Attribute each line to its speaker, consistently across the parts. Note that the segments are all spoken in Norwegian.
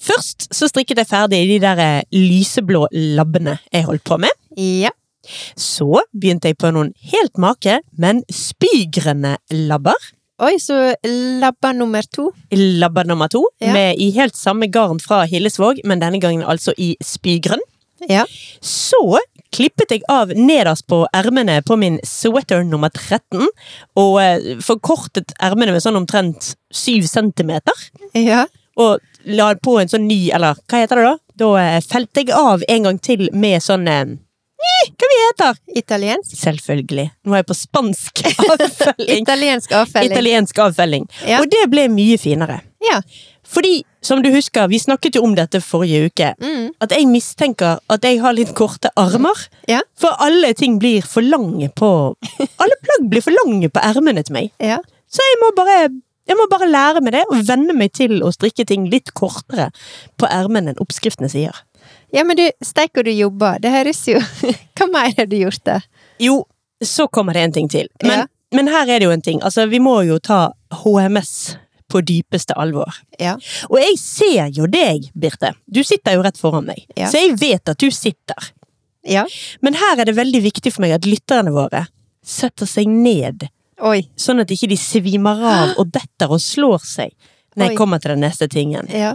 Speaker 1: Først så strikket jeg ferdig de der eh, lyseblå labbene jeg holdt på med.
Speaker 2: Ja.
Speaker 1: Så begynte jeg på noen helt make, men spygrønne labber.
Speaker 2: Oi, så labba nummer to.
Speaker 1: Labber nummer to,
Speaker 2: Ja.
Speaker 1: med i helt samme garn fra Hillesvåg, men denne gangen altså i spygrønn.
Speaker 2: Ja.
Speaker 1: Så klippet jeg av nederst på ermene på min sweater nummer 13, og eh, forkortet ermene med sånn omtrent 7 centimeter.
Speaker 2: Ja.
Speaker 1: og la på en sånn ny, eller hva heter det da? Da eh, felte jeg av en gang til med sånn eh, eh, Hva vi heter?
Speaker 2: Italiensk.
Speaker 1: Selvfølgelig. Nå er jeg på spansk avfelling.
Speaker 2: Italiensk avfelling.
Speaker 1: Italiensk avfelling.
Speaker 2: Ja.
Speaker 1: Og det ble mye finere.
Speaker 2: ja.
Speaker 1: Fordi, som du husker, vi snakket jo om dette forrige uke,
Speaker 2: Mm.
Speaker 1: at jeg mistenker at jeg har litt korte armer.
Speaker 2: Ja.
Speaker 1: For alle ting blir for lange på Alle plagg blir for lange på ermene til meg.
Speaker 2: ja.
Speaker 1: Så jeg må bare, jeg må bare lære meg det, og venne meg til å strikke ting litt kortere på ermen enn oppskriftene sier.
Speaker 2: Ja, men du, steik og du jobber. Det høres jo Hva mer har du gjort, da?
Speaker 1: Jo, så kommer det en ting til. Men,
Speaker 2: Ja.
Speaker 1: men her er det jo en ting. Altså, vi må jo ta HMS på dypeste alvor.
Speaker 2: Ja.
Speaker 1: Og jeg ser jo deg, Birte. Du sitter jo rett foran meg.
Speaker 2: Ja.
Speaker 1: Så jeg vet at du sitter.
Speaker 2: Ja.
Speaker 1: Men her er det veldig viktig for meg at lytterne våre setter seg ned,
Speaker 2: Oi.
Speaker 1: sånn at ikke de svimer av og detter og slår seg når
Speaker 2: Oi.
Speaker 1: jeg kommer til den neste tingen.
Speaker 2: Ja.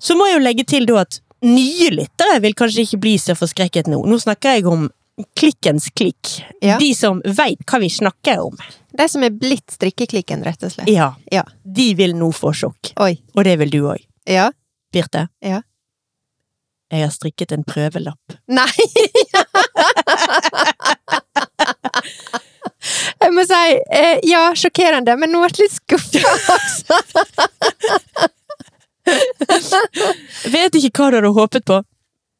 Speaker 1: Så må jeg jo legge til da at nye lyttere vil kanskje ikke bli så forskrekket nå. Nå snakker jeg om klikkens klikk.
Speaker 2: Ja.
Speaker 1: De som veit hva vi snakker om.
Speaker 2: De som er blitt strikkeklikken, rett og slett.
Speaker 1: Ja,
Speaker 2: Ja.
Speaker 1: de vil nå få sjokk.
Speaker 2: Oi.
Speaker 1: Og det vil du òg.
Speaker 2: Ja.
Speaker 1: Birte.
Speaker 2: Ja.
Speaker 1: Jeg har strikket en prøvelapp.
Speaker 2: Nei! Jeg må si eh, ja, sjokkerende, men nå ble jeg litt skuffa også.
Speaker 1: Jeg vet ikke hva du hadde håpet på,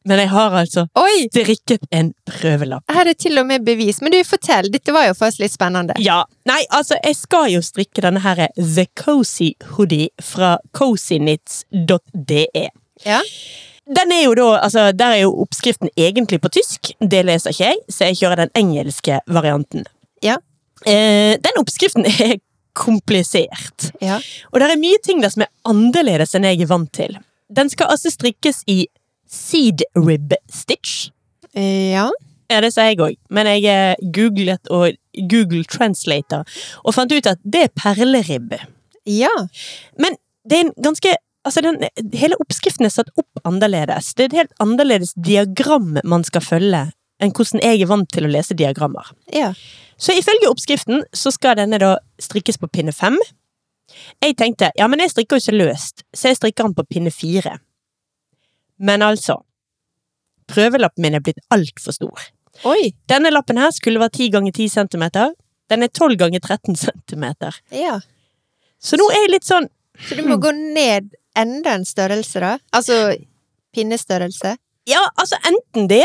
Speaker 1: men jeg har altså
Speaker 2: Oi!
Speaker 1: strikket en prøvelapp.
Speaker 2: Her er til og med bevis. Men du, fortell. Dette var jo for oss litt spennende.
Speaker 1: Ja. Nei, altså, jeg skal jo strikke denne her eh, The Cozy Hoodie fra cozynits.de.
Speaker 2: Ja.
Speaker 1: e. Den er jo da, altså Der er jo oppskriften egentlig på tysk. Det leser ikke jeg, så jeg kjører den engelske varianten.
Speaker 2: Ja.
Speaker 1: Eh, den oppskriften er komplisert.
Speaker 2: Ja.
Speaker 1: Og det er mye ting der som er annerledes enn jeg er vant til. Den skal altså strikkes i seed rib stitch.
Speaker 2: ja.
Speaker 1: Ja, det sier jeg òg, men jeg eh, googlet og Google Translator og fant ut at det er perleribb.
Speaker 2: Ja.
Speaker 1: Men det er en ganske Altså, den, hele oppskriften er satt opp annerledes. Det er et helt annerledes diagram man skal følge enn hvordan jeg er vant til å lese diagrammer.
Speaker 2: Ja.
Speaker 1: Så ifølge oppskriften så skal denne da strikkes på pinne fem. Jeg tenkte ja, men jeg strikker jo ikke løst, så jeg strikker den på pinne fire. Men altså Prøvelappen min er blitt altfor stor.
Speaker 2: Oi.
Speaker 1: Denne lappen her skulle være 10 ganger 10 centimeter. Den er 12 ganger 13 centimeter.
Speaker 2: Ja.
Speaker 1: Så nå er jeg litt sånn
Speaker 2: Så du må gå ned enda en størrelse, da? Altså pinnestørrelse?
Speaker 1: Ja, altså enten det,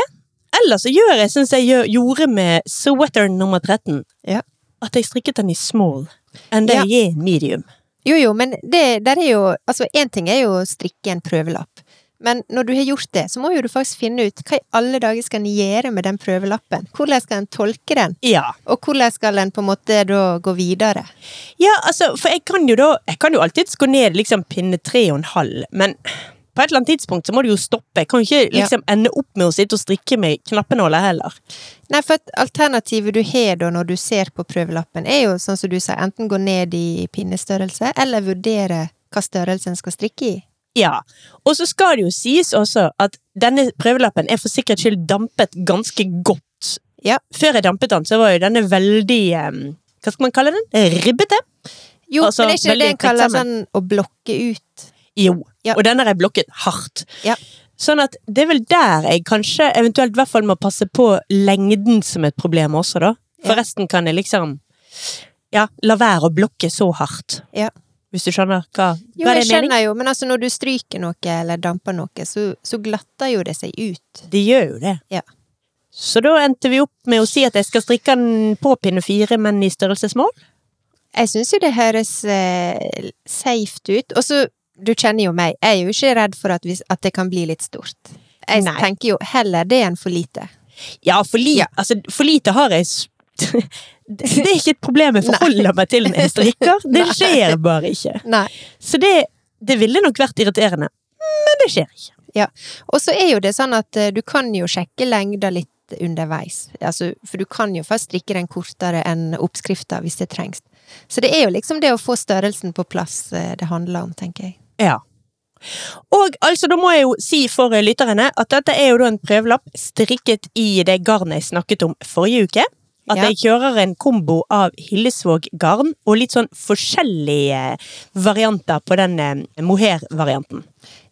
Speaker 1: eller så gjør jeg sånn som jeg gjør, gjorde med sweater nummer 13.
Speaker 2: Ja.
Speaker 1: At jeg strikket den i small, enn det
Speaker 2: Ja.
Speaker 1: jeg er i medium.
Speaker 2: Jo, jo, men det der er jo Altså, én ting er jo å strikke en prøvelapp. Men når du har gjort det, så må jo du faktisk finne ut hva i alle dager skal en gjøre med den prøvelappen? Hvordan skal en tolke den?
Speaker 1: Ja.
Speaker 2: Og hvordan skal en på en måte da gå videre?
Speaker 1: ja, altså, for jeg kan jo da Jeg kan jo alltids gå ned liksom pinne tre og en halv, men på et eller annet tidspunkt så må du jo stoppe. Jeg kan jo ikke
Speaker 2: Ja.
Speaker 1: liksom ende opp med å sitte og strikke med knappenåler heller.
Speaker 2: Nei, for at alternativet du har da når du ser på prøvelappen, er jo sånn som du sier, enten gå ned i pinnestørrelse, eller vurdere hva størrelse en skal strikke i.
Speaker 1: Ja, og så skal det jo sies også at denne prøvelappen er for sikkerhets skyld dampet ganske godt.
Speaker 2: Ja.
Speaker 1: Før jeg dampet den, så var jo denne veldig eh, Hva skal man kalle den? Ribbete?
Speaker 2: Jo,
Speaker 1: Altså,
Speaker 2: men det er ikke det
Speaker 1: veldig
Speaker 2: en kaller sånn
Speaker 1: tenksomme.
Speaker 2: å blokke ut.
Speaker 1: Jo.
Speaker 2: Ja.
Speaker 1: Og denne har jeg blokket hardt.
Speaker 2: Ja.
Speaker 1: Sånn at det er vel der jeg kanskje eventuelt i hvert fall må passe på lengden som et problem også, da.
Speaker 2: Ja.
Speaker 1: Forresten kan jeg liksom Ja, la være å blokke så hardt.
Speaker 2: Ja.
Speaker 1: Hvis du skjønner hva,
Speaker 2: Jo,
Speaker 1: hva er
Speaker 2: jeg
Speaker 1: det mening?
Speaker 2: skjønner jo, men altså når du stryker noe eller damper noe, så, så glatter jo det seg ut.
Speaker 1: De gjør jo det.
Speaker 2: Ja.
Speaker 1: Så da endte vi opp med å si at jeg skal strikke den på pinne fire, men i størrelsesmål.
Speaker 2: Jeg syns jo det høres eh, safe ut. Og så, du kjenner jo meg, jeg er jo ikke redd for at, hvis, at det kan bli litt stort. Jeg
Speaker 1: Nei.
Speaker 2: tenker jo heller det enn for lite.
Speaker 1: Ja, for, li
Speaker 2: Ja.
Speaker 1: Altså, for lite har jeg s- Det det er ikke et problem jeg forholder meg til når jeg strikker. Det
Speaker 2: Nei.
Speaker 1: skjer bare ikke.
Speaker 2: Nei.
Speaker 1: Så det, det ville nok vært irriterende, men det skjer ikke.
Speaker 2: Og så er jo det sånn at eh, du kan jo sjekke lengda litt underveis. Altså, for du kan jo faktisk strikke den kortere enn oppskrifta hvis det trengs. Så det er jo liksom det å få størrelsen på plass eh, det handler om, tenker jeg.
Speaker 1: Ja. Og altså, da må jeg jo si for eh, lytterne at dette er jo da en prøvelapp strikket i det garnet jeg snakket om forrige uke. At
Speaker 2: Ja.
Speaker 1: jeg kjører en kombo av Hillesvåg-garn og litt sånn forskjellige eh, varianter på den eh, mohair-varianten.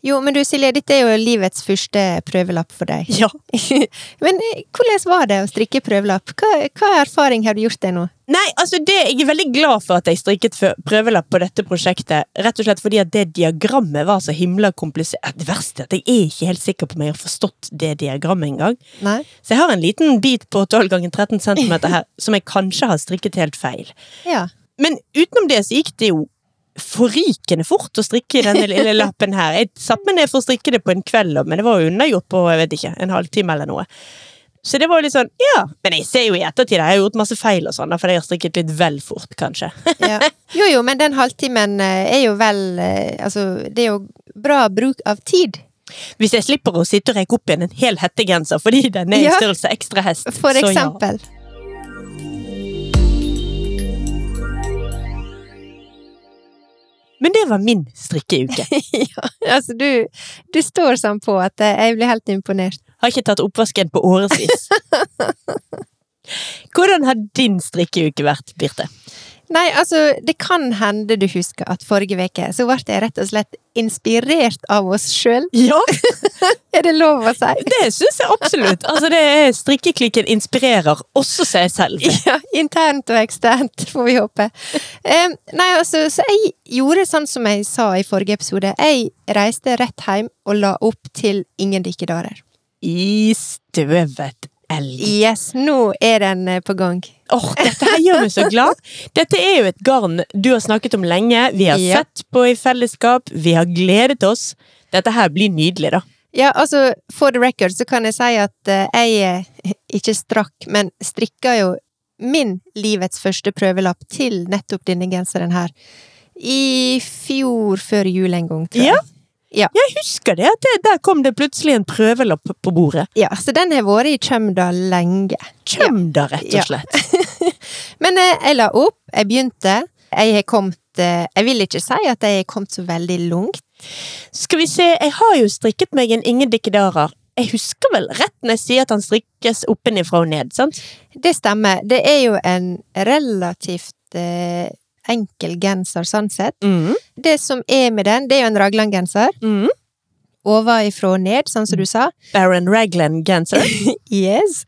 Speaker 2: Jo, men du Silje, dette er jo livets første prøvelapp for deg.
Speaker 1: Ja.
Speaker 2: Men eh, hvordan var det å strikke prøvelapp? Hva, hva erfaring har du gjort deg nå?
Speaker 1: Nei, altså det, jeg er veldig glad for at jeg strikket fø- prøvelapp på dette prosjektet. Rett og slett fordi at det diagrammet var så himla komplisert. Det verste er at jeg er ikke helt sikker på om jeg har forstått det diagrammet engang.
Speaker 2: Nei?
Speaker 1: Så jeg har en liten bit på 12 ganger 13 cm her, som jeg kanskje har strikket helt feil.
Speaker 2: Ja.
Speaker 1: Men utenom det så gikk det jo forrykende fort å strikke denne lille lappen her. Jeg satt meg ned for å strikke det på en kveld, men det var jo unnagjort på jeg vet ikke, en halvtime eller noe. Så det var jo litt sånn, ja, men jeg ser jo i ettertid, jeg har gjort masse feil og sånn, da, fordi jeg har strikket litt vel fort, kanskje.
Speaker 2: ja. Jo, jo, men den halvtimen eh, er jo vel eh, Altså, det er jo bra bruk av tid.
Speaker 1: Hvis jeg slipper å sitte og reke opp igjen en hel hettegenser fordi den er i
Speaker 2: Ja.
Speaker 1: størrelse ekstra hest,
Speaker 2: For eksempel.
Speaker 1: Men det var min strikkeuke.
Speaker 2: ja. Altså, du, du står sånn på at eh, jeg blir helt imponert.
Speaker 1: Har ikke tatt oppvasken på årevis. Hvordan har din strikkeuke vært, Birte?
Speaker 2: Nei, altså, det kan hende du husker at forrige uke så ble jeg rett og slett inspirert av oss sjøl.
Speaker 1: Ja,
Speaker 2: Er det lov å si?
Speaker 1: det syns jeg absolutt. Altså, det er Strikkeklikken inspirerer også seg selv.
Speaker 2: Ja, internt og eksternt, får vi håpe. Eh, nei, altså, så jeg gjorde sånn som jeg sa i forrige episode. Jeg reiste rett hjem og la opp til Ingen dikkedarer.
Speaker 1: I støvet elg.
Speaker 2: Yes, nå er den eh, på gang.
Speaker 1: Åh, Dette her gjør meg så glad. Dette er jo et garn du har snakket om lenge. Vi har
Speaker 2: Ja.
Speaker 1: sett på i fellesskap. Vi har gledet oss. Dette her blir nydelig, da.
Speaker 2: Ja, altså, for the record så kan jeg si at eh, jeg eh, ikke strakk, men strikka jo min livets første prøvelapp til nettopp denne genseren her. I fjor før jul en gang, tror jeg.
Speaker 1: Ja. Jeg husker det, at det, der kom det plutselig en prøvelapp på bordet.
Speaker 2: Ja, så den har vært i kjømda lenge.
Speaker 1: Kjem da, rett
Speaker 2: Ja.
Speaker 1: og slett.
Speaker 2: Men eh, jeg la opp, jeg begynte. Jeg har kommet eh, Jeg vil ikke si at jeg har kommet så veldig langt.
Speaker 1: Skal vi se, jeg har jo strikket meg en Ingen Dikkedarer. Jeg husker vel rett når jeg sier at han strikkes oppenifra og ned, sant?
Speaker 2: Det stemmer. Det er jo en relativt eh, enkel genser, sånn sett.
Speaker 1: Mm.
Speaker 2: Det som er med den, det er jo en raglan-genser.
Speaker 1: Mm.
Speaker 2: Ovenfra og ned, sånn som du sa.
Speaker 1: Baron Raglan-genser.
Speaker 2: Yes.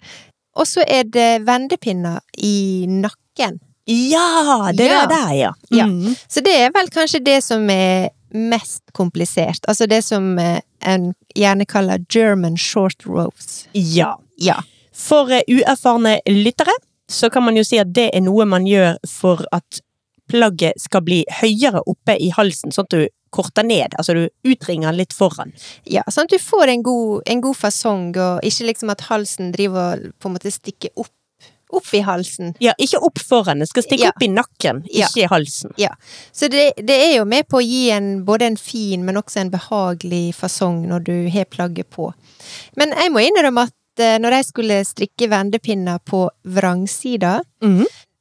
Speaker 2: Og så er det vendepinner i nakken.
Speaker 1: Ja, det
Speaker 2: Ja.
Speaker 1: er der, ja.
Speaker 2: Ja.
Speaker 1: Mm.
Speaker 2: Så det er vel kanskje det som er mest komplisert. Altså det som eh, en gjerne kaller German short rows.
Speaker 1: ja.
Speaker 2: Ja.
Speaker 1: For eh, uerfarne lyttere så kan man jo si at det er noe man gjør for at plagget skal bli høyere oppe i halsen, sånn at du korter ned, altså du utringer litt foran.
Speaker 2: Ja, sånn at du får en god, en god fasong, og ikke liksom at halsen driver og på en måte stikker opp, opp i halsen.
Speaker 1: Ja, ikke opp foran, det skal stikke
Speaker 2: Ja.
Speaker 1: opp i nakken,
Speaker 2: Ja.
Speaker 1: ikke i halsen.
Speaker 2: Så det, det er jo med på å gi en både en fin, men også en behagelig fasong når du har plagget på. Men jeg må innrømme at eh, når jeg skulle strikke vendepinner på vrangsida,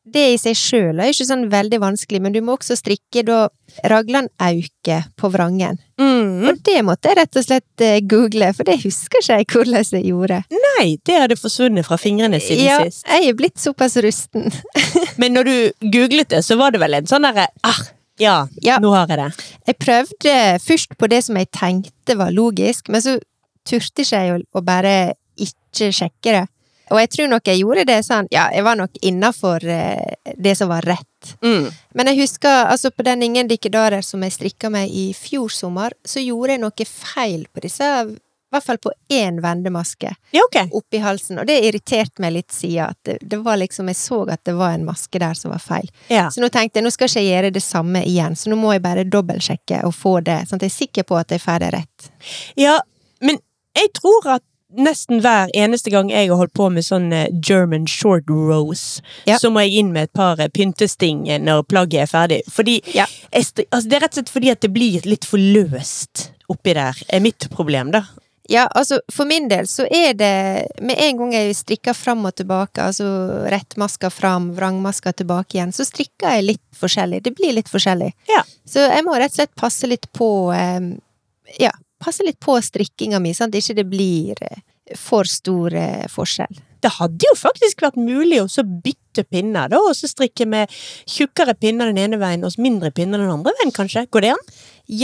Speaker 2: det i seg sjøl er ikke sånn veldig vanskelig, men du må også strikke da raglanauke på vrangen.
Speaker 1: Mm.
Speaker 2: Og det måtte jeg rett og slett eh, google, for det husker ikke jeg hvordan jeg gjorde.
Speaker 1: Nei, det hadde forsvunnet fra fingrene siden
Speaker 2: ja,
Speaker 1: sist.
Speaker 2: jeg er blitt såpass rusten.
Speaker 1: Men når du googlet det, så var det vel en sånn derre ah, ja,
Speaker 2: Ja.
Speaker 1: nå har jeg det.
Speaker 2: Jeg prøvde først på det som jeg tenkte var logisk, men så turte ikke jeg å, å bare ikke sjekke det. Og jeg tror nok jeg gjorde det sånn, ja, jeg var nok innafor eh, det som var rett. litt. Men jeg husker altså på den Ingen dikkedarer som jeg strikka med i fjor sommer, så gjorde jeg noe feil på disse, i hvert fall på én vendemaske
Speaker 1: Ja, ok.
Speaker 2: oppi halsen, og det irriterte meg litt siden. At det, det var liksom, jeg så at det var en maske der som var feil.
Speaker 1: Ja.
Speaker 2: Så nå tenkte jeg nå skal ikke jeg gjøre det samme igjen, så nå må jeg bare dobbeltsjekke og få det, sånn at jeg er sikker på at jeg får det rett.
Speaker 1: ja, men jeg tror at nesten hver eneste gang jeg har holdt på med sånn eh, German short rose,
Speaker 2: Ja.
Speaker 1: så må jeg inn med et par eh, pyntesting eh, når plagget er ferdig. Fordi
Speaker 2: Ja.
Speaker 1: jeg, stri- altså, det er rett og slett fordi at det blir litt for løst oppi der, er mitt problem, da.
Speaker 2: Ja, altså for min del så er det Med en gang jeg strikker fram og tilbake, altså rettmaska fram, vrangmaska tilbake igjen, så strikker jeg litt forskjellig. Det blir litt forskjellig.
Speaker 1: Ja.
Speaker 2: Så jeg må rett og slett passe litt på eh, Ja, passe litt på strikkinga mi, sånn at ikke det blir eh, for stor eh, forskjell.
Speaker 1: Det hadde jo faktisk vært mulig å så bytte pinner, da, og så strikke med tjukkere pinner den ene veien og så mindre pinner den andre veien, kanskje. Går det an?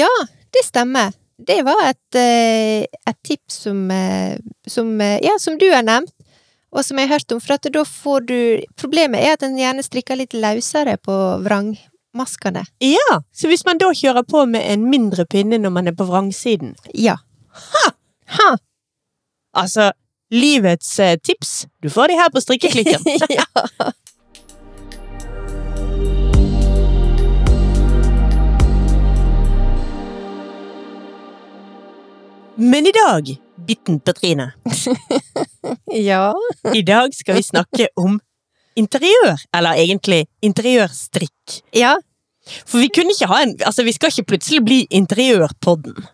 Speaker 2: Ja, det stemmer. Det var et, eh, et tips som, eh, som, eh, ja, som du har nevnt, og som jeg har hørt om. For at da får du Problemet er at en gjerne strikker litt løsere på vrangmaskene.
Speaker 1: Ja, så hvis man da kjører på med en mindre pinne når man er på vrangsiden
Speaker 2: Ja. Ha!
Speaker 1: Altså, livets eh, tips, du får de her på strikkeklikken.
Speaker 2: ja.
Speaker 1: Men i dag, bitten Petrine,
Speaker 2: ja.
Speaker 1: i dag skal vi snakke om interiør, eller egentlig interiørstrikk.
Speaker 2: Ja.
Speaker 1: For vi kunne ikke ha en, altså vi skal ikke plutselig bli interiørpodden.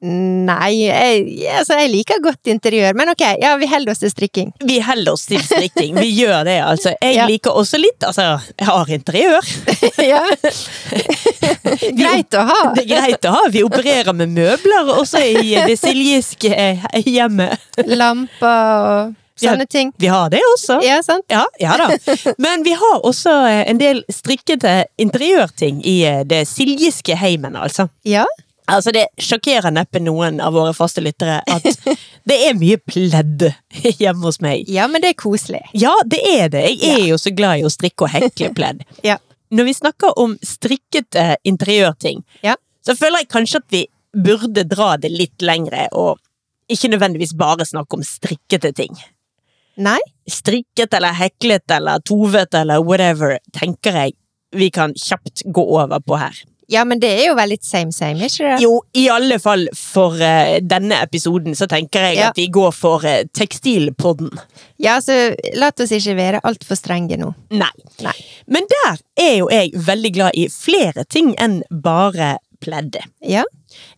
Speaker 2: Nei, jeg, altså, jeg liker godt interiør, men ok, ja, vi holder oss til strikking.
Speaker 1: Vi heller oss til strikking, vi gjør det altså. Jeg
Speaker 2: Ja.
Speaker 1: liker også litt, altså jeg har interiør.
Speaker 2: ja. Greit å ha.
Speaker 1: Det er greit å ha, vi opererer med møbler også i det siljeske eh, hjemmet.
Speaker 2: Lamper og
Speaker 1: Ja.
Speaker 2: sånne ting.
Speaker 1: Vi har det også.
Speaker 2: Ja, sant?
Speaker 1: Ja, ja da. Men vi har også eh, en del strikkete interiørting i eh, det siljiske heimen, altså.
Speaker 2: Ja.
Speaker 1: Altså, Det sjokkerer neppe noen av våre faste lyttere at det er mye pledd hjemme hos meg.
Speaker 2: ja, men det er koselig.
Speaker 1: Ja, det er det. Jeg er jo så glad i å strikke og hekle pledd.
Speaker 2: Ja.
Speaker 1: Når vi snakker om strikkete interiørting,
Speaker 2: Ja.
Speaker 1: så føler jeg kanskje at vi burde dra det litt lengre og ikke nødvendigvis bare snakke om strikkete ting.
Speaker 2: Nei?
Speaker 1: strikket eller heklet eller tovet eller whatever, tenker jeg vi kan kjapt gå over på her.
Speaker 2: Ja, men det er jo veldig same same, ikke det?
Speaker 1: Jo, i alle fall for eh, denne episoden så tenker jeg
Speaker 2: Ja.
Speaker 1: at vi går for eh, tekstilpodden.
Speaker 2: Ja, så la oss ikke være altfor strenge nå.
Speaker 1: Nei.
Speaker 2: Nei.
Speaker 1: Men der er jo jeg veldig glad i flere ting enn bare pleddet.
Speaker 2: Ja?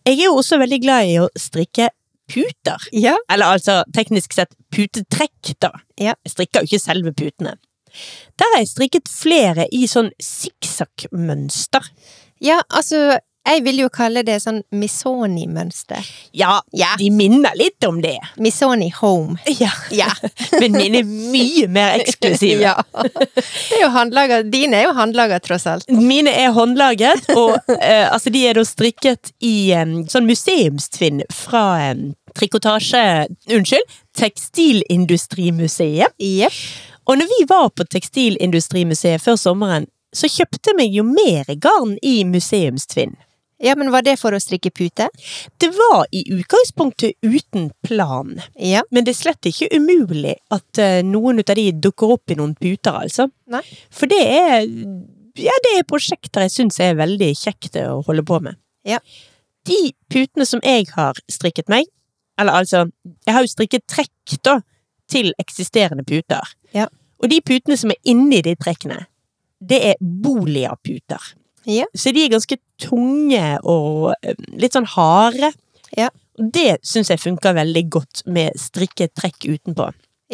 Speaker 1: Jeg er jo også veldig glad i å strikke puter.
Speaker 2: Ja.
Speaker 1: Eller altså teknisk sett putetrekk, da.
Speaker 2: Ja.
Speaker 1: Jeg strikker jo ikke selve putene. Der har jeg strikket flere i sånn sikksakk-mønster.
Speaker 2: Ja, altså, jeg vil jo kalle det sånn Misoni-mønster.
Speaker 1: Ja,
Speaker 2: Ja.
Speaker 1: de minner litt om det.
Speaker 2: Misoni home.
Speaker 1: Ja,
Speaker 2: Ja.
Speaker 1: Men mine er mye mer eksklusive.
Speaker 2: ja. Det er jo håndlaga. Dine er jo håndlaga, tross alt.
Speaker 1: Mine er håndlaget, og eh, altså de er da strikket i em, sånn museumstvinn fra em, trikotasje... Unnskyld, Tekstilindustrimuseet.
Speaker 2: Jepp.
Speaker 1: Og når vi var på Tekstilindustrimuseet før sommeren, så kjøpte meg jo mer garn i museumstvinn.
Speaker 2: Ja, men var det for å strikke pute?
Speaker 1: Det var i utgangspunktet uten plan,
Speaker 2: Ja.
Speaker 1: men det er slett ikke umulig at eh, noen ut av de dukker opp i noen puter, altså.
Speaker 2: Nei.
Speaker 1: For det er, ja, det er prosjekter jeg syns er veldig kjekt å holde på med.
Speaker 2: Ja.
Speaker 1: De putene som jeg har strikket meg, eller altså, jeg har jo strikket trekk da, til eksisterende puter.
Speaker 2: Ja.
Speaker 1: Og de putene som er inni de trekkene, det er boliaputer.
Speaker 2: Ja.
Speaker 1: Så de er ganske tunge og eh, litt sånn harde.
Speaker 2: Ja.
Speaker 1: Og Det syns jeg funker veldig godt med strikket trekk utenpå.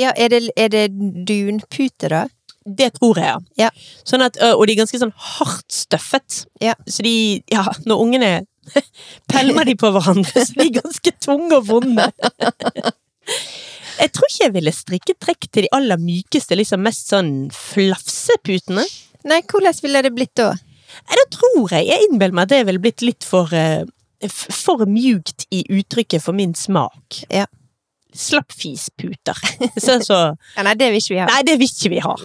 Speaker 2: Ja, er det, er det dunpute, da?
Speaker 1: Det tror jeg,
Speaker 2: Ja.
Speaker 1: Sånn at, ø, og de er ganske sånn hardt støffet.
Speaker 2: Ja.
Speaker 1: Så de, ja, når ungene pelmer de på hverandre, så de er ganske tunge og vonde. Jeg tror ikke jeg ville strikke trekk til de aller mykeste, liksom mest sånn flafseputene.
Speaker 2: Nei, hvordan ville det blitt da?
Speaker 1: Nei, Da tror jeg Jeg innbiller meg at det ville blitt litt for eh, f- For mjukt i uttrykket for min smak. Sånn
Speaker 2: Ja.
Speaker 1: Slappfisputer. Så, så
Speaker 2: Ja, nei, det vil ikke vi ha.
Speaker 1: Nei, det vil ikke vi ha.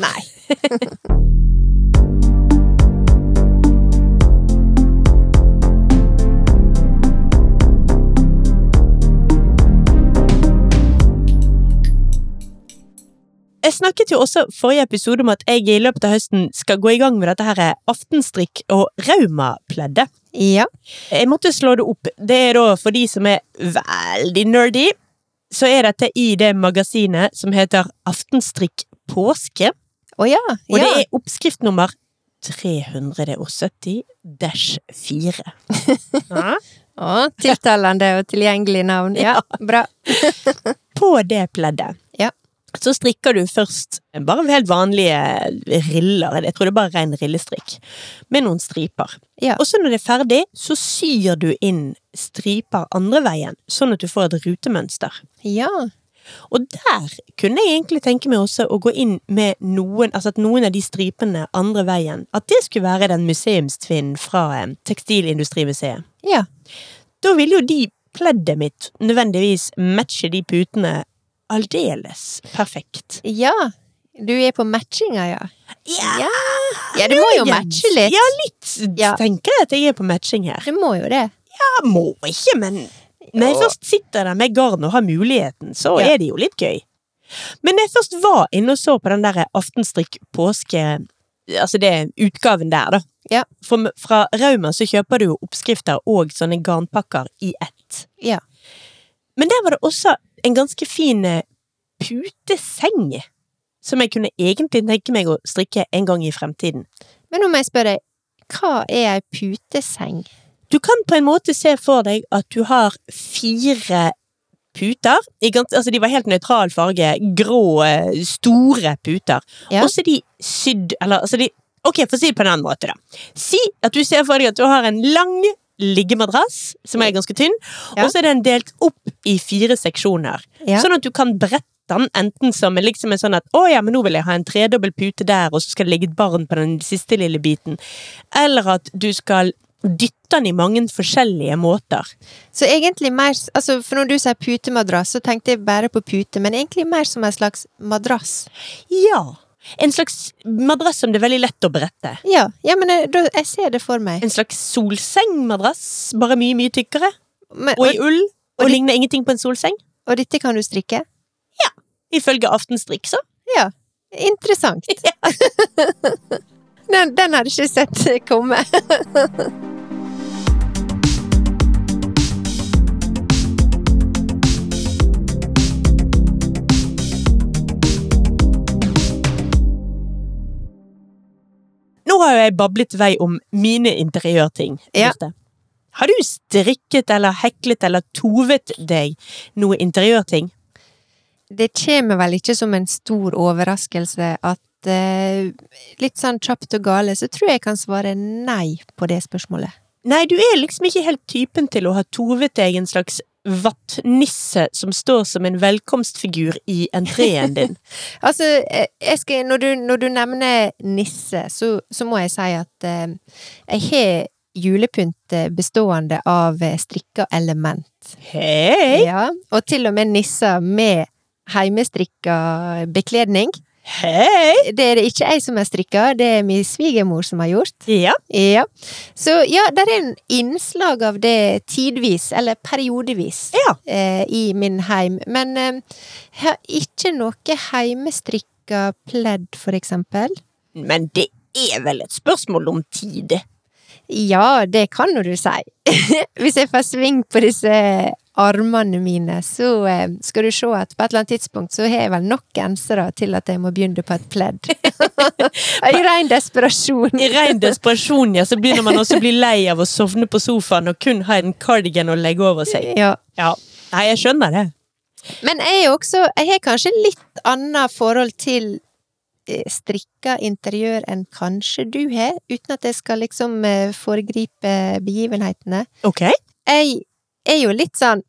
Speaker 1: jeg snakket jo også forrige episode om at jeg i løpet av høsten skal gå i gang med dette her aftenstrikk og raumapleddet.
Speaker 2: Ja.
Speaker 1: Jeg måtte slå det opp. Det er da for de som er veldig nerdy, så er dette i det magasinet som heter Aftenstrikk påske.
Speaker 2: Å ja.
Speaker 1: Og
Speaker 2: ja.
Speaker 1: det er oppskrift nummer 370-4. Ja.
Speaker 2: Å, tiltalende og tilgjengelig navn. Ja, bra.
Speaker 1: På det pleddet.
Speaker 2: Ja.
Speaker 1: Så strikker du først bare helt vanlige riller, jeg tror det er bare ren rillestrikk, med noen striper.
Speaker 2: Ja.
Speaker 1: Og så når det er ferdig, så syr du inn striper andre veien, sånn at du får et rutemønster.
Speaker 2: Ja.
Speaker 1: Og der kunne jeg egentlig tenke meg også å gå inn med noen, altså at noen av de stripene andre veien, at det skulle være den museumstvinnen fra eh, Tekstilindustrimuseet.
Speaker 2: ja.
Speaker 1: Da ville jo de pleddet mitt nødvendigvis matche de putene aldeles perfekt.
Speaker 2: Ja. Du er på matchinga, ja.
Speaker 1: Ja,
Speaker 2: Ja, det må jo
Speaker 1: muligens.
Speaker 2: matche litt.
Speaker 1: Ja, litt
Speaker 2: Ja.
Speaker 1: tenker jeg at jeg er på matching her.
Speaker 2: Det må jo det.
Speaker 1: Jeg må ikke, men når jeg
Speaker 2: Jo.
Speaker 1: først sitter der med garn og har muligheten, så
Speaker 2: Ja.
Speaker 1: er det jo litt gøy. Men når jeg først var inne og så på den der aftenstrikk påske... Altså det er utgaven der, da.
Speaker 2: Ja.
Speaker 1: For, fra Rauma så kjøper du jo oppskrifter og sånne garnpakker i ett.
Speaker 2: Ja.
Speaker 1: Men der var det også en ganske fin eh, puteseng, som jeg kunne egentlig tenke meg å strikke en gang i fremtiden.
Speaker 2: Men nå må jeg spørre deg, hva er ei puteseng?
Speaker 1: Du kan på en måte se for deg at du har fire puter. I gans, altså de var helt nøytral farge. Grå, eh, store puter.
Speaker 2: Ja.
Speaker 1: Og så er de sydd Eller altså de Ok, for å si det på en annen måte, da. Si at du ser for deg at du har en lang liggemadrass, som er ganske tynn,
Speaker 2: Ja.
Speaker 1: og så er den delt opp i fire seksjoner.
Speaker 2: Ja.
Speaker 1: Sånn at du kan brette den enten som en- liksom en sånn at 'Å ja, men nå vil jeg ha en tredobbel pute der, og så skal det ligge et barn på den siste lille biten', eller at du skal dytte den i mange forskjellige måter.
Speaker 2: Så egentlig mer s- altså For når du sier putemadrass, så tenkte jeg bare på pute, men egentlig mer som en slags madrass.
Speaker 1: Ja. En slags madrass som det er veldig lett å brette.
Speaker 2: Ja, ja men jeg, da, jeg ser det for meg.
Speaker 1: En slags solsengmadrass, bare mye, mye tykkere,
Speaker 2: Men,
Speaker 1: Eh, og i
Speaker 2: og,
Speaker 1: ull, og
Speaker 2: og det-
Speaker 1: ligner ingenting på en solseng.
Speaker 2: og dette kan du strikke?
Speaker 1: Ifølge Aftenstrikk, så.
Speaker 2: Ja. Interessant. den, den hadde jeg ikke sett komme.
Speaker 1: Nå har jo jeg bablet vei om mine interiørting.
Speaker 2: Ja.
Speaker 1: Birte. Har du strikket eller heklet eller tovet deg noe interiørting?
Speaker 2: det kommer vel ikke som en stor overraskelse at eh, litt sånn kjapt og gale, så tror jeg jeg kan svare nei på det spørsmålet.
Speaker 1: Nei, du er liksom ikke helt typen til å ha tovet deg en slags vattnisse som står som en velkomstfigur i entreen din.
Speaker 2: Altså, eh, jeg skal, når, du, når du nevner nisse, så, så må jeg si at eh, jeg har julepynt eh, bestående av eh, strikka element.
Speaker 1: Hei!
Speaker 2: Ja, og til og med nisser med heimestrikka bekledning.
Speaker 1: Hei!
Speaker 2: Det er det ikke jeg som har strikka, det er min svigermor som har gjort.
Speaker 1: Ja.
Speaker 2: Ja. Så ja, der er en innslag av det tidvis, eller periodevis,
Speaker 1: Ja.
Speaker 2: eh, i min heim. Men eh, jeg har ikke noe heimestrikka pledd, for eksempel.
Speaker 1: Men det er vel et spørsmål om tid?
Speaker 2: Ja, det kan nå du si. Hvis jeg får sving på disse armene mine, så eh, skal du se at på et eller annet tidspunkt så har jeg vel nok gensere til at jeg må begynne på et pledd. I ren desperasjon.
Speaker 1: I ren desperasjon, ja, så begynner man også å bli lei av å sovne på sofaen og kun ha en cardigan å legge over seg.
Speaker 2: Ja.
Speaker 1: Ja. Nei, jeg skjønner det.
Speaker 2: Men jeg, er også, jeg har kanskje litt annet forhold til eh, strikka interiør enn kanskje du har, uten at jeg skal liksom eh, foregripe begivenhetene.
Speaker 1: Ok.
Speaker 2: Jeg er jo litt sånn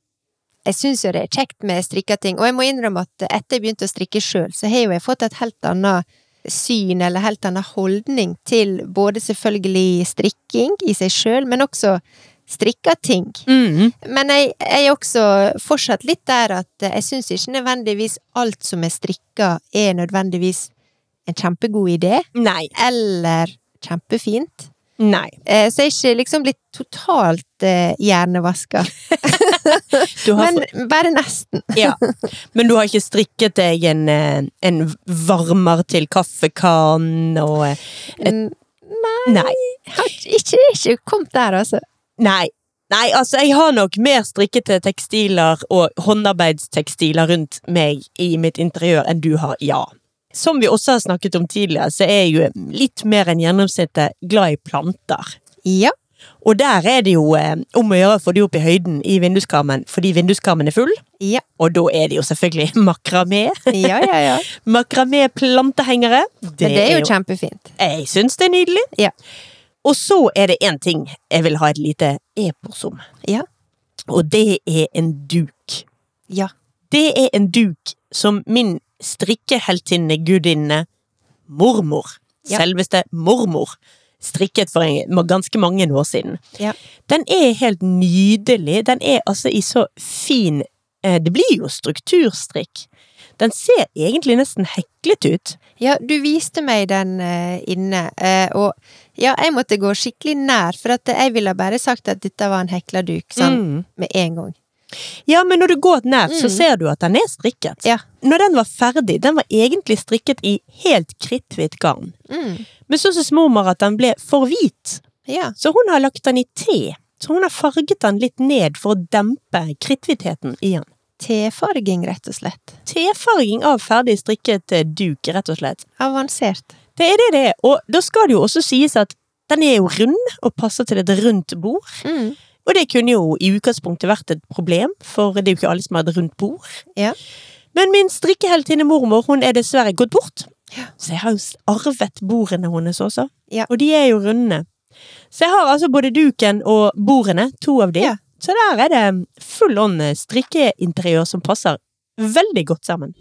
Speaker 2: jeg syns jo det er kjekt med strikka ting, og jeg må innrømme at etter jeg begynte å strikke sjøl, så har jo jeg fått et helt annet syn, eller helt annen holdning til både selvfølgelig strikking i seg sjøl, men også strikka ting.
Speaker 1: Mhm.
Speaker 2: Men jeg, jeg er også fortsatt litt der at jeg syns ikke nødvendigvis alt som er strikka, er nødvendigvis en kjempegod idé,
Speaker 1: Nei.
Speaker 2: eller kjempefint.
Speaker 1: Nei.
Speaker 2: Eh, Så jeg er ikke liksom blitt totalt eh, hjernevaska.
Speaker 1: Du har
Speaker 2: Men bare nesten.
Speaker 1: Ja, men du har ikke strikket deg en, eh, en varmer til kaffekann og eh,
Speaker 2: N-
Speaker 1: Nei.
Speaker 2: Har ikke, ikke kommet der, altså.
Speaker 1: Nei. Nei, altså jeg har nok mer strikkete tekstiler og håndarbeidstekstiler rundt meg i mitt interiør enn du har, ja. Som vi også har snakket om tidligere, så er jeg jo litt mer enn gjennomsnittet glad i planter.
Speaker 2: Ja.
Speaker 1: Og der er det jo eh, om å gjøre å få de opp i høyden i vinduskarmen, fordi vinduskarmen er full.
Speaker 2: Ja,
Speaker 1: Og da er det jo selvfølgelig makramé.
Speaker 2: ja, ja. ja.
Speaker 1: Makramé-plantehengere.
Speaker 2: Men det er jo kjempefint.
Speaker 1: Jeg syns det er nydelig.
Speaker 2: Ja.
Speaker 1: Og så er det én ting jeg vil ha et lite epos om,
Speaker 2: Ja.
Speaker 1: og det er en duk.
Speaker 2: Ja.
Speaker 1: Det er en duk som min strikkeheltinne, gudinne, mormor,
Speaker 2: Ja.
Speaker 1: selveste mormor, strikket for en, ganske mange år siden.
Speaker 2: Ja.
Speaker 1: Den er helt nydelig. Den er altså i så fin eh, Det blir jo strukturstrikk. Den ser egentlig nesten heklet ut.
Speaker 2: Ja, du viste meg den eh, inne, eh, og ja, jeg måtte gå skikkelig nær, for at jeg ville bare sagt at dette var en hekla duk, sånn
Speaker 1: Mm.
Speaker 2: med en gang.
Speaker 1: Ja, men når du går nær, så
Speaker 2: Mm.
Speaker 1: ser du at den er strikket.
Speaker 2: Ja.
Speaker 1: Når den var ferdig, den var egentlig strikket i helt kritthvitt garn.
Speaker 2: Mm.
Speaker 1: Men så syntes mormor at den ble for hvit,
Speaker 2: Ja.
Speaker 1: så hun har lagt den i te. Så hun har farget den litt ned for å dempe kritthvitheten i den.
Speaker 2: Tefarging, rett og slett.
Speaker 1: Tefarging av ferdig strikket eh, duk, rett og slett.
Speaker 2: Avansert.
Speaker 1: Det er det det er, og da skal det jo også sies at den er jo rund, og passer til et rundt bord.
Speaker 2: Mm.
Speaker 1: Og det kunne jo i utgangspunktet vært et problem, for det er jo ikke alle som har et rundt bord.
Speaker 2: Ja.
Speaker 1: Men min strikkeheltinne mormor hun er dessverre gått bort.
Speaker 2: Ja.
Speaker 1: Så jeg har jo s- arvet bordene hennes også.
Speaker 2: Ja.
Speaker 1: Og de er jo runde. Så jeg har altså både duken og bordene, to av de.
Speaker 2: Ja.
Speaker 1: Så der er det full on strikkeinteriør som passer veldig godt sammen.